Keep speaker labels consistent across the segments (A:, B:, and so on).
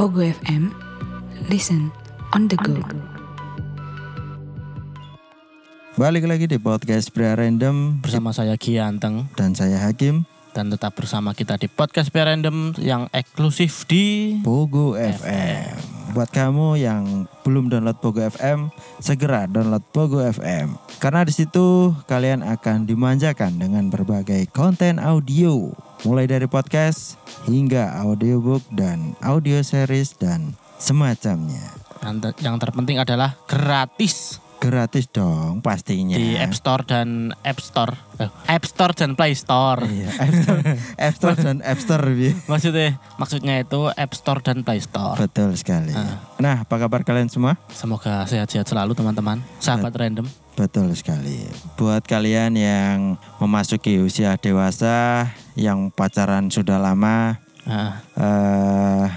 A: Ogo FM. Listen on the go.
B: Balik lagi di podcast Pria Random
C: Bersama saya Ki Anteng
B: dan saya Hakim
C: dan tetap bersama kita di podcast Pia Random yang eksklusif di
B: Pogo FM. Buat kamu yang belum download Pogo FM, segera download Pogo FM. Karena di situ kalian akan dimanjakan dengan berbagai konten audio, mulai dari podcast hingga audiobook dan audio series dan semacamnya.
C: dan te- yang terpenting adalah gratis
B: Gratis dong pastinya.
C: di App Store dan App Store. Eh, App Store dan Play Store.
B: Iya, App Store, App Store dan App Store. Bi.
C: Maksudnya maksudnya itu App Store dan Play Store.
B: Betul sekali.
C: Ah.
B: Nah, apa kabar kalian semua?
C: Semoga sehat-sehat selalu teman-teman. Sahabat random.
B: Betul sekali. Buat kalian yang memasuki usia dewasa, yang pacaran sudah lama,
C: Nah,
B: eh,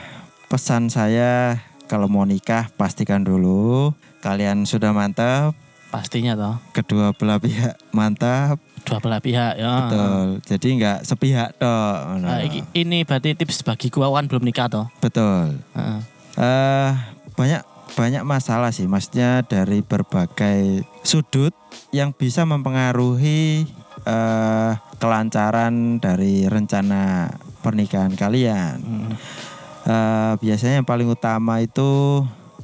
B: pesan saya kalau mau nikah pastikan dulu kalian sudah mantap,
C: pastinya toh
B: kedua belah pihak mantap,
C: dua belah pihak ya.
B: betul. Jadi nggak sepihak toh.
C: Nah, iki- ini berarti tips bagiku aku kan belum nikah toh.
B: Betul.
C: Nah,
B: eh banyak banyak masalah sih, maksudnya dari berbagai sudut yang bisa mempengaruhi eh kelancaran dari rencana pernikahan kalian.
C: mm.
B: Eh biasanya yang paling utama itu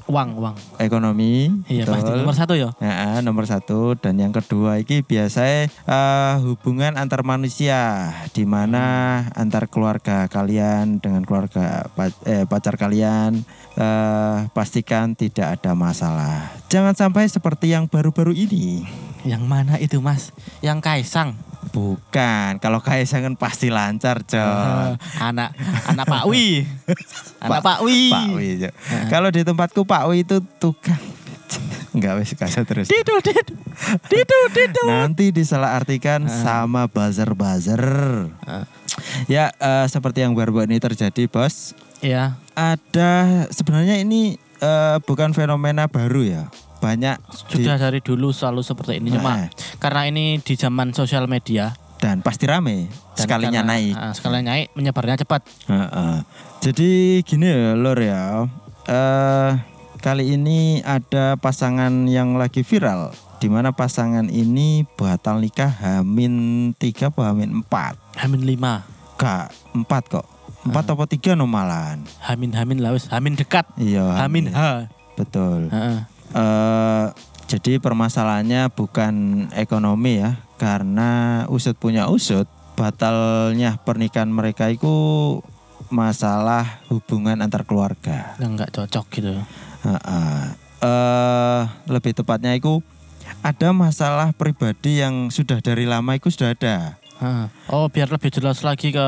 C: Uang, uang.
B: ekonomi,
C: Iya
B: betul.
C: pasti nomor satu ya.
B: Ya, nomor satu dan yang kedua ini biasanya eh, hubungan antar manusia di mana antar keluarga kalian dengan keluarga pa- eh, pacar kalian eh, pastikan tidak ada masalah. Jangan sampai seperti yang baru-baru ini.
C: Yang mana itu mas? Yang Kaisang.
B: Bukan, kalau Kaisang kan pasti lancar,
C: Eh,
B: Cok.
C: anak anak Pak Wi. anak Pak Wi.
B: Pak Wi, Cok. Kalau di tempatku Pak Wi itu tukang. Enggak wes kasih terus.
C: Didu didu didu didu.
B: Nanti disalahartikan
C: Ah.
B: sama buzzer-buzzer.
C: Eh,
B: Ya, eh, seperti yang baru ini terjadi, Bos.
C: Iya,
B: Ada sebenarnya ini eh, bukan fenomena baru ya. Banyak di-
C: sudah dari dulu selalu seperti ini
B: Eh.
C: cuma karena ini di zaman sosial media
B: dan pasti rame
C: dan
B: sekalinya
C: karena-
B: naik.
C: eh, sekalinya naik menyebarnya cepat.
B: Heeh. Jadi gini ya, Lor ya. Eh, kali ini ada pasangan yang lagi viral di mana pasangan ini batal nikah Hamin 3 apa Hamin 4?
C: Hamin 5,
B: Kak, 4 kok. 4 atau 3 no malahan.
C: Hamin Hamin lah wis, Hamin dekat,
B: Iya.
C: Hamin H.
B: Betul.
C: Heeh.
B: eh jadi permasalahannya bukan ekonomi ya, karena usut punya usut, batalnya pernikahan mereka itu masalah hubungan antar keluarga.
C: Yang nggak cocok gitu.
B: Heeh. Eh, lebih tepatnya itu ada masalah pribadi yang sudah dari lama itu sudah ada.
C: Heeh. Oh, biar lebih jelas lagi ke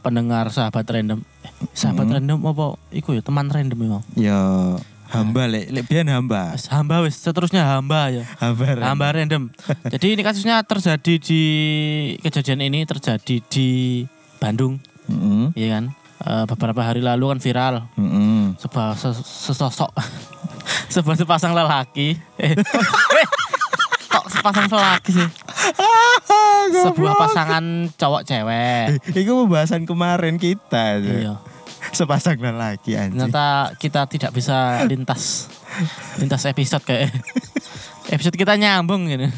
C: pendengar sahabat random. Eh, sahabat
B: Hmm.
C: random apa iku ya teman random ya.
B: Ya hamba lek lek biyen hamba.
C: Wis, Hamba wis, seterusnya hamba ya.
B: Hamba. Ren.
C: Tambah random. Jadi ini kasusnya terjadi di kejadian ini terjadi di Bandung,
B: Mm-mm,
C: ya kan? Eh, beberapa hari lalu kan viral
B: mm-mm.
C: sebuah se- sesosok sebuah sepasang lelaki. Eh, eh, kok sepasang lelaki sih? Sebuah pasangan cowok cewek.
B: Itu pembahasan kemarin kita. itu.
C: Iya.
B: Sepasang lelaki anjing.
C: Ternyata kita tidak bisa lintas lintas episode kayak eh, episode kita nyambung gini.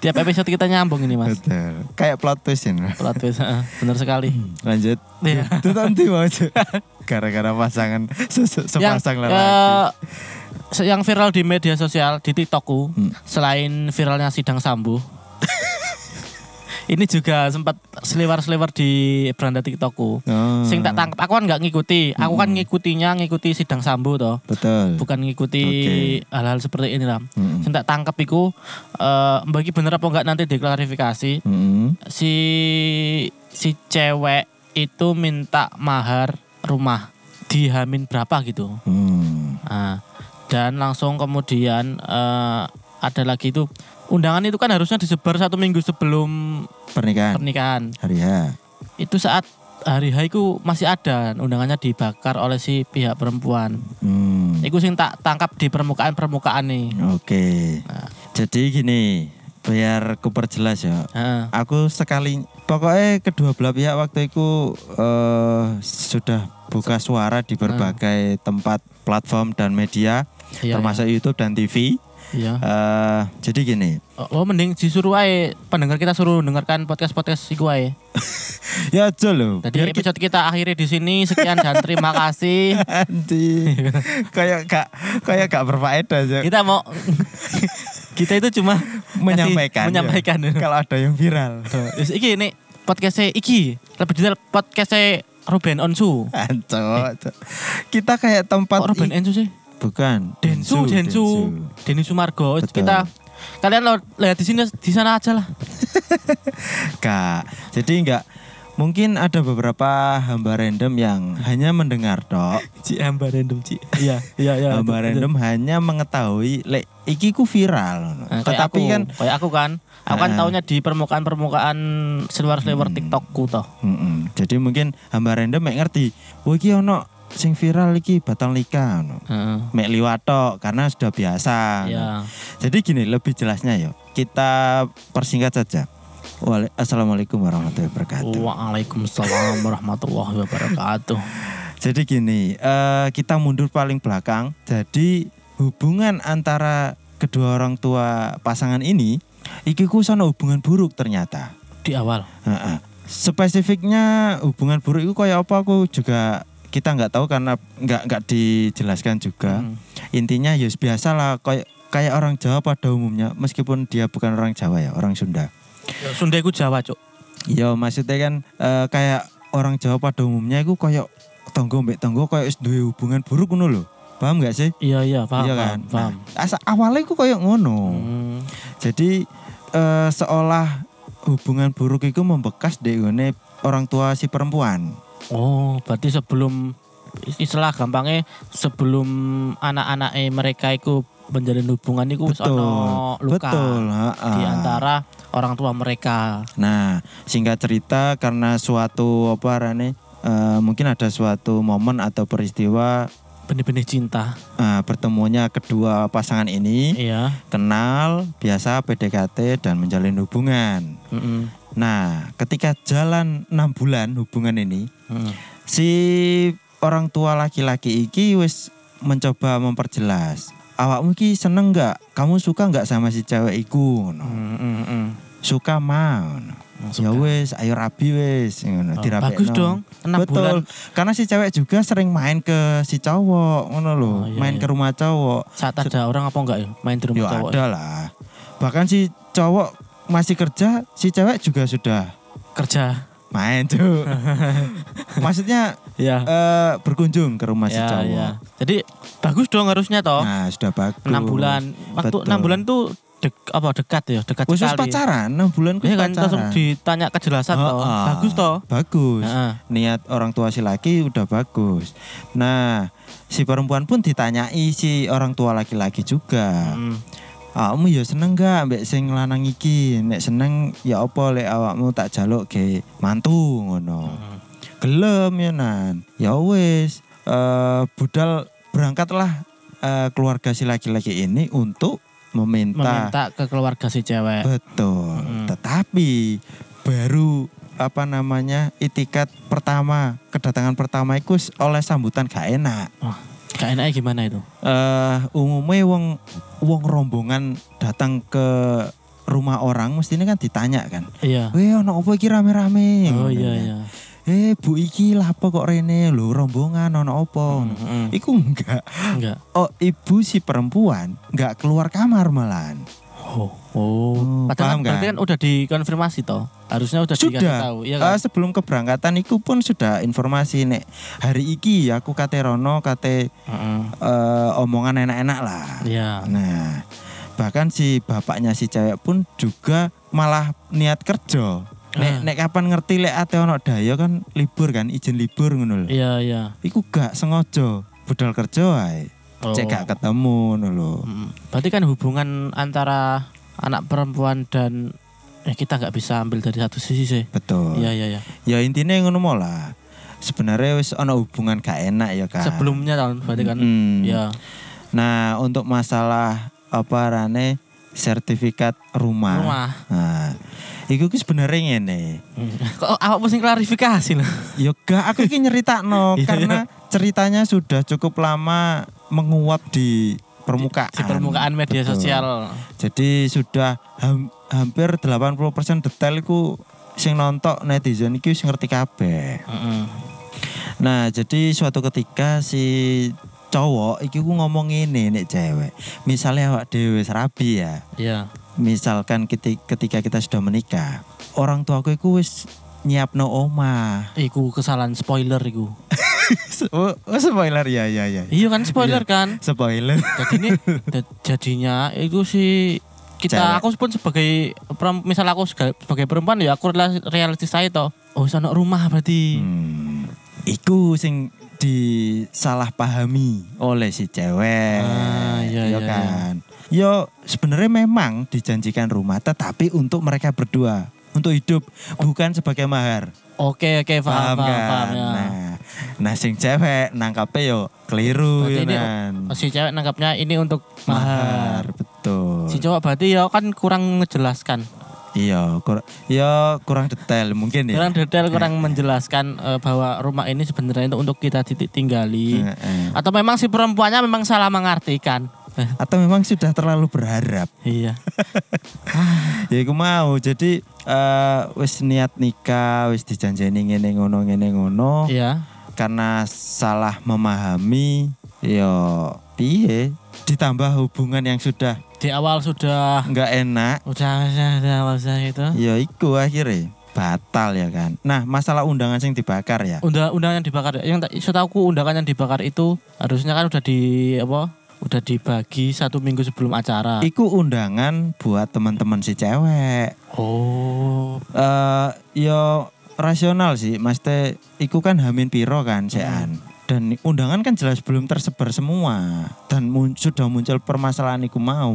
C: Tiap episode kita nyambung ini mas.
B: Betul. Kayak plot twist ini.
C: Plot twist, heeh. bener sekali.
B: Lanjut.
C: Iya.
B: Itu nanti mau aja. Gara-gara pasangan se- se-
C: Ya,
B: sepasang lelaki.
C: eh, se- yang viral di media sosial di TikTokku,
B: Hmm.
C: selain viralnya sidang sambu, ini juga sempat seliwer-seliwer di beranda TikTokku.
B: Oh,
C: Sing tak tangkap, aku kan nggak ngikuti. Aku kan ngikutinya ngikuti sidang sambu toh.
B: Betul.
C: Bukan ngikuti hal-hal seperti ini lah.
B: Mm-mm.
C: Sing tak tangkap iku eh, mbak iki bener apa enggak nanti diklarifikasi.
B: Mm-mm.
C: Si si cewek itu minta mahar rumah di Hamin berapa gitu.
B: Hmm.
C: Nah, dan langsung kemudian eh, ada lagi itu undangan itu kan harusnya disebar satu minggu sebelum
B: Pernikahan.
C: pernikahan.
B: Hari H.
C: Itu saat hari H itu masih ada undangannya dibakar oleh si pihak perempuan.
B: Hmm.
C: Iya. Itu sing tak tangkap di permukaan permukaan nih.
B: Oke. Jadi gini. biar kuperjelas ya.
C: Heeh.
B: Aku sekali pokoknya kedua belah pihak waktu itu eh, sudah buka suara di berbagai tempat platform dan media
C: Hmm. Iya,
B: termasuk YouTube dan TV.
C: Iya.
B: Eh, jadi gini,
C: Oh, mending disuruh ae pendengar kita suruh dengarkan podcast-podcast iku ae.
B: ya jolo.
C: Jadi episode kita akhiri di sini. Sekian dan terima kasih.
B: Anti. kayak gak kayak gak berfaedah aja.
C: Kita mau kita itu cuma ngasih-
B: menyampaikan. ya.
C: menyampaikan.
B: Kalau ada yang viral.
C: Terus iki ini podcastnya iki lebih detail podcastnya Ruben Onsu.
B: Anco. Kita kayak tempat
C: Kok Ruben
B: i-
C: Onsu sih?
B: bukan
C: eh. Densu, Densu, Denny Sumargo.
B: Betul.
C: Kita kalian lo lihat di sini di sana aja lah.
B: Kak. Jadi enggak mungkin ada beberapa hamba random yang hanya mendengar dok.
C: Ci hamba random Ci. Iya, iya, iya.
B: hamba random hanya mengetahui lek iki ku viral.
C: Nah, kayak
B: Tetapi
C: aku,
B: kan
C: kayak aku kan, aku kan
B: Ah. Hmm.
C: taunya di permukaan-permukaan seluar-seluar TikTokku toh.
B: Mm-mm. Jadi mungkin hamba random mek ngerti. Oh iki ono sing viral iki batal nikah. ono.
C: Heeh.
B: Mek liwat tok, karena sudah biasa.
C: Iya.
B: Jadi gini lebih jelasnya ya. Kita persingkat saja. Wale- Assalamualaikum warahmatullahi wabarakatuh.
C: Waalaikumsalam warahmatullahi wabarakatuh.
B: Jadi gini, eh, kita mundur paling belakang. Jadi hubungan antara kedua orang tua pasangan ini, iki ku sono hubungan buruk ternyata.
C: Di awal.
B: Heeh. Spesifiknya hubungan buruk itu kayak apa? Aku juga kita nggak tahu karena nggak nggak dijelaskan juga.
C: Hmm.
B: Intinya ya biasalah kayak kayak orang Jawa pada umumnya, meskipun dia bukan orang Jawa ya, orang Sunda.
C: Sunda iku Jawa, Cuk.
B: Ya maksudnya kan eh, kayak orang Jawa pada umumnya itu kayak tonggo mbek tonggo kayak wis duwe hubungan buruk ngono lho. Paham gak sih?
C: Iya, iya, paham,
B: iya
C: paham,
B: kan?
C: paham.
B: Nah, asa awalnya iku kayak ngono.
C: Hmm.
B: Jadi eh, seolah hubungan buruk itu membekas di ngone orang tua si perempuan.
C: Oh, berarti sebelum istilah gampangnya sebelum anak-anak mereka itu menjalin hubungan itu wis ono luka
B: Betul, Ah. heeh.
C: di antara orang tua mereka.
B: Nah, singkat cerita karena suatu apa arane eh, mungkin ada suatu momen atau peristiwa
C: Benih-benih cinta.
B: eh, pertemuannya kedua pasangan ini
C: Iya.
B: kenal, biasa PDKT dan menjalin hubungan.
C: Mm-mm.
B: Nah, ketika jalan 6 bulan hubungan ini,
C: Mm.
B: si orang tua laki-laki iki wis mencoba memperjelas. Awakmu iki seneng nggak? Kamu suka nggak sama si cewek iku? Ngono.
C: Mm, mm, mm.
B: Suka mau. Ya wis, ayo rabi wis. Ngono,
C: Oh,
B: dirapekno.
C: bagus dong, enam bulan.
B: Betul. Karena si cewek juga sering main ke si cowok, ngono lho,
C: Oh, iya,
B: main
C: iya.
B: ke rumah cowok.
C: Saat ada orang apa enggak ya main di rumah
B: Ya
C: cowok?
B: ada lah. Bahkan si cowok masih kerja, si cewek juga sudah
C: Kerja.
B: main tuh. Maksudnya
C: Iya.
B: eh, berkunjung ke rumah si
C: Iya,
B: cowok.
C: iya. Jadi bagus dong harusnya toh.
B: Nah sudah bagus.
C: 6 Oh. bulan. Waktu
B: Betul.
C: 6 bulan tuh dek- apa dekat ya, dekat
B: Khusus
C: sekali.
B: pacaran, 6 bulan
C: Iya
B: khusus
C: kan langsung
B: pacaran.
C: ditanya kejelasan toh.
B: Heeh.
C: Bagus toh.
B: Bagus.
C: Heeh.
B: Niat orang tua si laki udah bagus. Nah si perempuan pun ditanyai si orang tua laki-laki juga.
C: Mm.
B: Awakmu ya seneng gak mbek sing lanang iki? Nek seneng ya apa lek awakmu tak jaluk ge mantu ngono. Gelem ya nan. Ya wis eh, budal berangkatlah eh, keluarga si laki-laki ini untuk meminta.
C: Meminta ke keluarga si cewek.
B: Betul.
C: Mm.
B: Tetapi baru apa namanya itikat pertama kedatangan pertama iku s- oleh sambutan gak enak.
C: Wah, gak enaknya gimana itu?
B: eh umumnya wong wong rombongan datang ke rumah orang mestinya kan ditanya kan.
C: Iya.
B: Weh ono apa iki rame-rame?
C: Oh
B: Ngono
C: iya
B: kan.
C: iya.
B: Eh Bu iki lapo kok rene? Lho rombongan ono apa?
C: Mm, mm.
B: Iku enggak.
C: Enggak.
B: Oh, ibu si perempuan enggak keluar kamar malahan.
C: Oh. Oh.
B: Oh, paham
C: Padahal kan, berarti
B: kan?
C: kan udah dikonfirmasi toh. Harusnya udah dikasih
B: sudah.
C: tahu, iya
B: Eh,
C: kan?
B: sebelum keberangkatan iku pun sudah informasi nek hari iki aku kate rono kate
C: Heeh.
B: eh, omongan enak-enak lah.
C: Iya.
B: Nah, bahkan si bapaknya si cewek pun juga malah niat kerja. Nek,
C: Ah.
B: nek kapan ngerti lek ate ono daya kan libur kan, izin libur ngono lho.
C: Iya iya.
B: Iku gak sengaja budal kerja wae.
C: Oh.
B: Cek gak ketemu ngono lho.
C: Mm. Berarti kan hubungan antara anak perempuan dan eh kita nggak bisa ambil dari satu sisi sih.
B: Betul.
C: Iya iya iya.
B: Ya intinya ngono mau lah. Sebenarnya wis ono hubungan gak enak ya kan.
C: Sebelumnya kan berarti kan.
B: Mm.
C: Iya.
B: Nah, untuk masalah apa rane sertifikat rumah.
C: Rumah.
B: Nah, iku ki sebenarnya ngene.
C: Mm. Kok awak mesti klarifikasi lho.
B: Ya gak aku ki nyeritakno
C: Iya.
B: karena ceritanya sudah cukup lama menguap di permukaan.
C: Di permukaan media
B: Betul.
C: sosial.
B: Jadi sudah ham- hampir 80% detail iku sing nonton netizen iki wis ngerti kabeh.
C: Heeh.
B: Nah, jadi suatu ketika si cowok iki ku ngomong ngene nek cewek. Misalnya awak dhewe wis rabi ya.
C: Iya.
B: Misalkan keti- ketika kita sudah menikah, orang tuaku iku wis nyiapno omah.
C: Iku kesalahan spoiler iku.
B: oh, oh, spoiler ya ya ya.
C: Iya kan spoiler kan.
B: Spoiler.
C: jadi ini da- jadinya itu sih kita
B: Cewek.
C: aku pun sebagai perem- misal aku sega- sebagai perempuan ya aku rela- realistis saya toh oh sana rumah berarti
B: Hmm, iku sing disalahpahami oleh si cewek.
C: Ah, iya,
B: ya
C: iya,
B: kan. Yo sebenarnya memang dijanjikan rumah tetapi untuk mereka berdua, untuk hidup bukan sebagai mahar.
C: oke oke paham paham, paham, ya.
B: Nah, nah sing cewek nangkape yo keliru ya kan? yo
C: Berarti ini
B: nan.
C: Oh, si cewek nangkapnya ini untuk mahar
B: betul.
C: si cowok berarti ya kan kurang menjelaskan
B: Iya, kur yo kurang detail mungkin ya.
C: kurang detail kurang menjelaskan eh, bahwa rumah ini sebenarnya itu untuk kita titik tinggali
B: Heeh.
C: atau memang si perempuannya memang salah mengartikan Eh,
B: Atau memang sudah terlalu berharap.
C: iya
B: ya iku mau. Jadi eh, wis niat nikah, wis dijanjeni ngene ngono ngene ngono
C: iya
B: karena salah memahami yo piye ditambah hubungan yang sudah
C: di awal sudah
B: nggak enak
C: Udah, udah, udah, nggak usah itu.
B: ya iku akhirnya batal ya kan nah masalah undangan sing dibakar ya
C: Undang undangan yang dibakar. Yang tak setahuku undangan yang dibakar itu harusnya kan udah di apa? Udah dibagi satu minggu sebelum acara.
B: iku undangan buat teman-teman si cewek
C: Oh.
B: eh yo rasional sih mas teh iku kan hamin piro
C: Hmm.
B: kan sean dan undangan kan jelas belum tersebar semua dan mun- sudah muncul permasalahan iku mau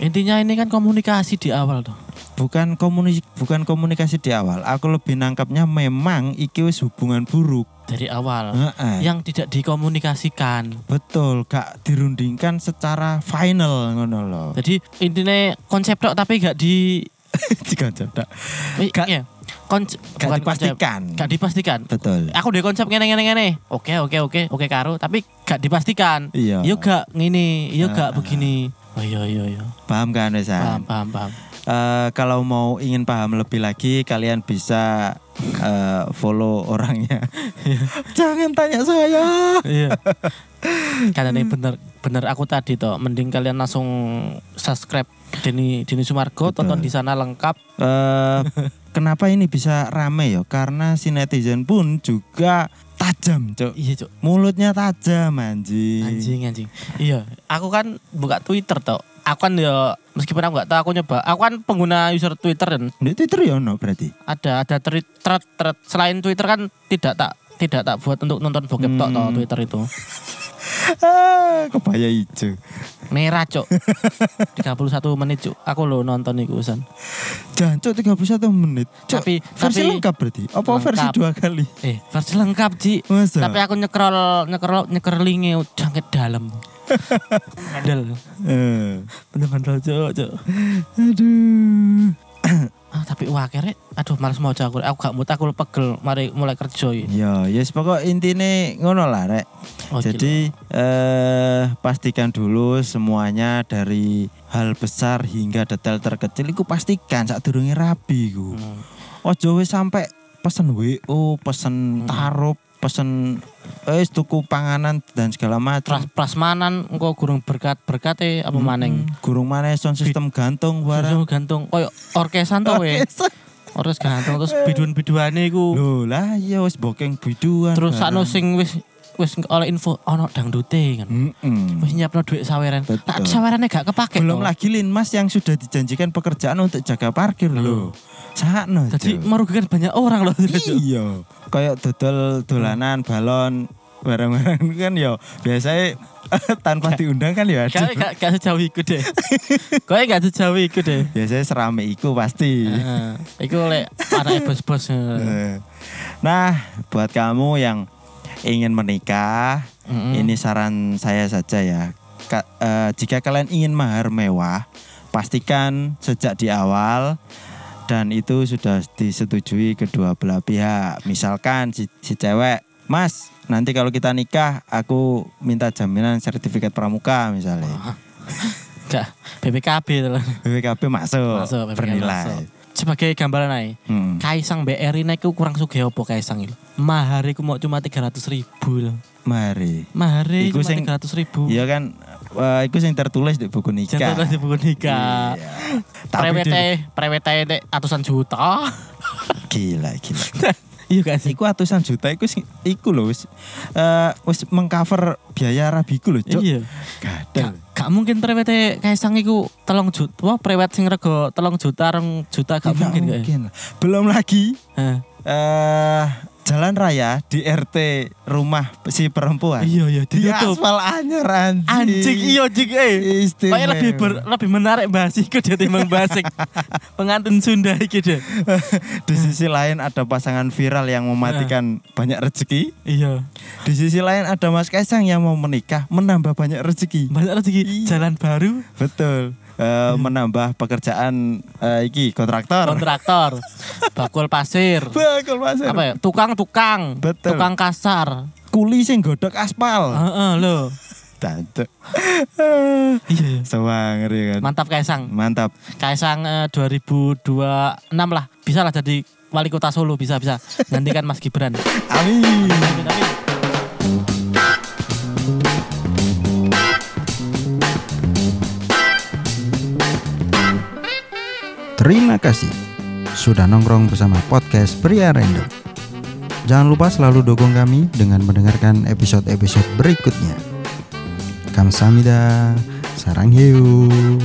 C: Intinya ini kan komunikasi di awal tuh.
B: bukan komunikasi bukan komunikasi di awal aku lebih nangkapnya memang iki wis hubungan buruk
C: Dari awal.
B: Heeh.
C: Ah. Yang tidak dikomunikasikan.
B: betul gak dirundingkan secara final ngono loh
C: Jadi intinya konsep tok tapi gak di
B: dikonsep tak
C: eh,
B: Gak-
C: iya. Konse-
B: gak
C: bukan konsep.
B: dipastikan
C: Gak Ah. dipastikan.
B: betul
C: Aku deh konsep ngene ngene ngene. Oke oke oke oke karo tapi gak dipastikan.
B: iya
C: Yo gak ngene,
B: Ah,
C: yo gak
B: ah.
C: begini. Oh iya iya iya.
B: paham kan
C: Paham
B: Wesan
C: paham paham.
B: Eh, kalau mau ingin paham lebih lagi kalian bisa eh, follow orangnya jangan tanya saya
C: Iya. Karena
B: Hmm.
C: ini bener bener aku tadi toh, mending kalian langsung subscribe Dini Dini Sumargo
B: Betul.
C: tonton di sana lengkap.
B: Eh, kenapa ini bisa rame ya karena si netizen pun juga tajam cok
C: Iya, Cuk.
B: mulutnya tajam anjing,
C: Anjing anjing. Iya, aku kan buka Twitter toh. Aku kan ya meskipun aku nggak tahu aku nyoba. Aku kan pengguna user Twitter dan
B: di twitter ya no berarti
C: ada ada tweet thread, thread. selain Twitter kan tidak tak tidak tak buat untuk nonton bokep tok toh
B: Hmm.
C: Twitter itu.
B: Ah, kebaya hijau
C: Merah, Cuk. 31 menit, Cuk. Aku lo nonton iku usan.
B: jancok 31 menit cok
C: Tapi-
B: versi
C: tapi-
B: lengkap berarti apa
C: Lengkap.
B: versi dua kali
C: Eh, versi lengkap, Ji.
B: Masa?
C: Tapi aku nyekrol nyekrol nyekerlinge jangkit dalam. Bandel.
B: Eh,
C: Bener bandel, Cuk, Cuk.
B: aduh
C: Ah, tapi wah akhirnya aduh males mau aku. Aku gak mut aku pegel mari mulai kerja. iki.
B: Ya, yes pokok intine ngono lah rek.
C: Oh,
B: Jadi eh pastikan dulu semuanya dari hal besar hingga detail terkecil iku pastikan sak durunge rabi iku.
C: Hmm.
B: Ojo wis sampai pesen WO,
C: Hmm.
B: pesen tarup, pesen eh tuku panganan dan segala macam.
C: Pras, prasmanan engko gurung berkat-berkat eh apa maning.
B: Gurung mana sound system gantung barang.
C: Terus gantung koyo orkesan to we. Orkes Eh. gantung terus bidun-biduane iku.
B: Lho lah ya wis bokeng biduan.
C: Terus
B: barang.
C: sakno sing wis wis oleh info ono dangdute kan.
B: Mm-mm.
C: Wis nyiapno duit saweran.
B: Betul.
C: Tak sawerannya gak kepake.
B: Belum
C: toh.
B: lagi Linmas yang sudah dijanjikan pekerjaan untuk jaga parkir loh. Sakno.
C: Jadi
B: Cuk.
C: merugikan banyak orang loh.
B: iya. Kayak dodol dolanan balon barang-barang itu kan ya biasanya eh, tanpa diundang kan ya
C: Kau
B: ada.
C: gak, gak sejauh itu deh. Kau gak sejauh itu deh.
B: Biasanya serame iku pasti.
C: Nah, Iku oleh para bos-bos.
B: Eh. Nah, buat kamu yang ingin menikah,
C: Mm-mm.
B: ini saran saya saja ya. Ka- eh, jika kalian ingin mahar mewah, pastikan sejak di awal dan itu sudah disetujui kedua belah pihak. Misalkan si, si cewek, Mas, nanti kalau kita nikah, aku minta jaminan sertifikat pramuka misalnya.
C: Enggak, BPKB itu lah.
B: BPKB masuk,
C: Masuk, BPKB
B: bernilai.
C: masuk. Sebagai gambaran ae.
B: Hmm.
C: Kaisang BRI naik ku kurang sugih apa Kaisang itu? Mahari ku mau cuma 300 ribu loh.
B: Mari.
C: Mahari
B: Iku
C: cuma
B: sing-
C: 300 ribu.
B: Iya kan, eh, itu yang tertulis di buku nikah.
C: Jatuh di buku nikah.
B: Iya. Tapi dulu-
C: Prewete, prewete dek atusan juta.
B: gila, gila.
C: Iya gak sih?
B: Iku atusan juta, iku sing- iku loh, wis, eh, wis mengcover biaya rabiku loh, cok.
C: Iya. Gak,
B: Gadel.
C: gak mungkin prewete Kaisang iku telung juta. Wah, prewet sing rego telung juta, rong juta
B: Tidak
C: gak mungkin. gak ya?
B: lah. Belum lagi
C: Hah.
B: eh jalan raya di RT rumah si perempuan.
C: Iya, iya,
B: Di
C: ditutup.
B: aspal anyar anjing.
C: Anjing iya jik eh.
B: Istimewa.
C: Kayak lebih ber- lebih menarik bahas iku timbang bahas ik- pengantin Sunda iki deh.
B: di sisi lain ada pasangan viral yang mematikan
C: Nah.
B: banyak rezeki.
C: Iya.
B: Di sisi lain ada Mas Kaisang yang mau menikah menambah banyak rezeki. Iya.
C: Banyak rezeki jalan baru
B: Betul.
C: Hmm.
B: Eh, menambah pekerjaan eh, iki kontraktor.
C: kontraktor bakul pasir
B: Bakul pasir.
C: apa ya tukang-tukang
B: Betul.
C: tukang kasar
B: Kuli sing godok aspal.
C: heeh lho
B: Tante.
C: iya iya.
B: Sewang ngeri kan.
C: mantap Kaisang
B: Mantap.
C: Kaisang eh, 2026 lah bisa lah jadi wali kota Solo bisa bisa gantikan Mas Gibran
B: Amin.
C: Amin, amin.
B: Terima kasih sudah nongkrong bersama podcast Pria Random. Jangan lupa selalu dukung kami dengan mendengarkan episode-episode berikutnya. Kamsahamnida, sarang hiu.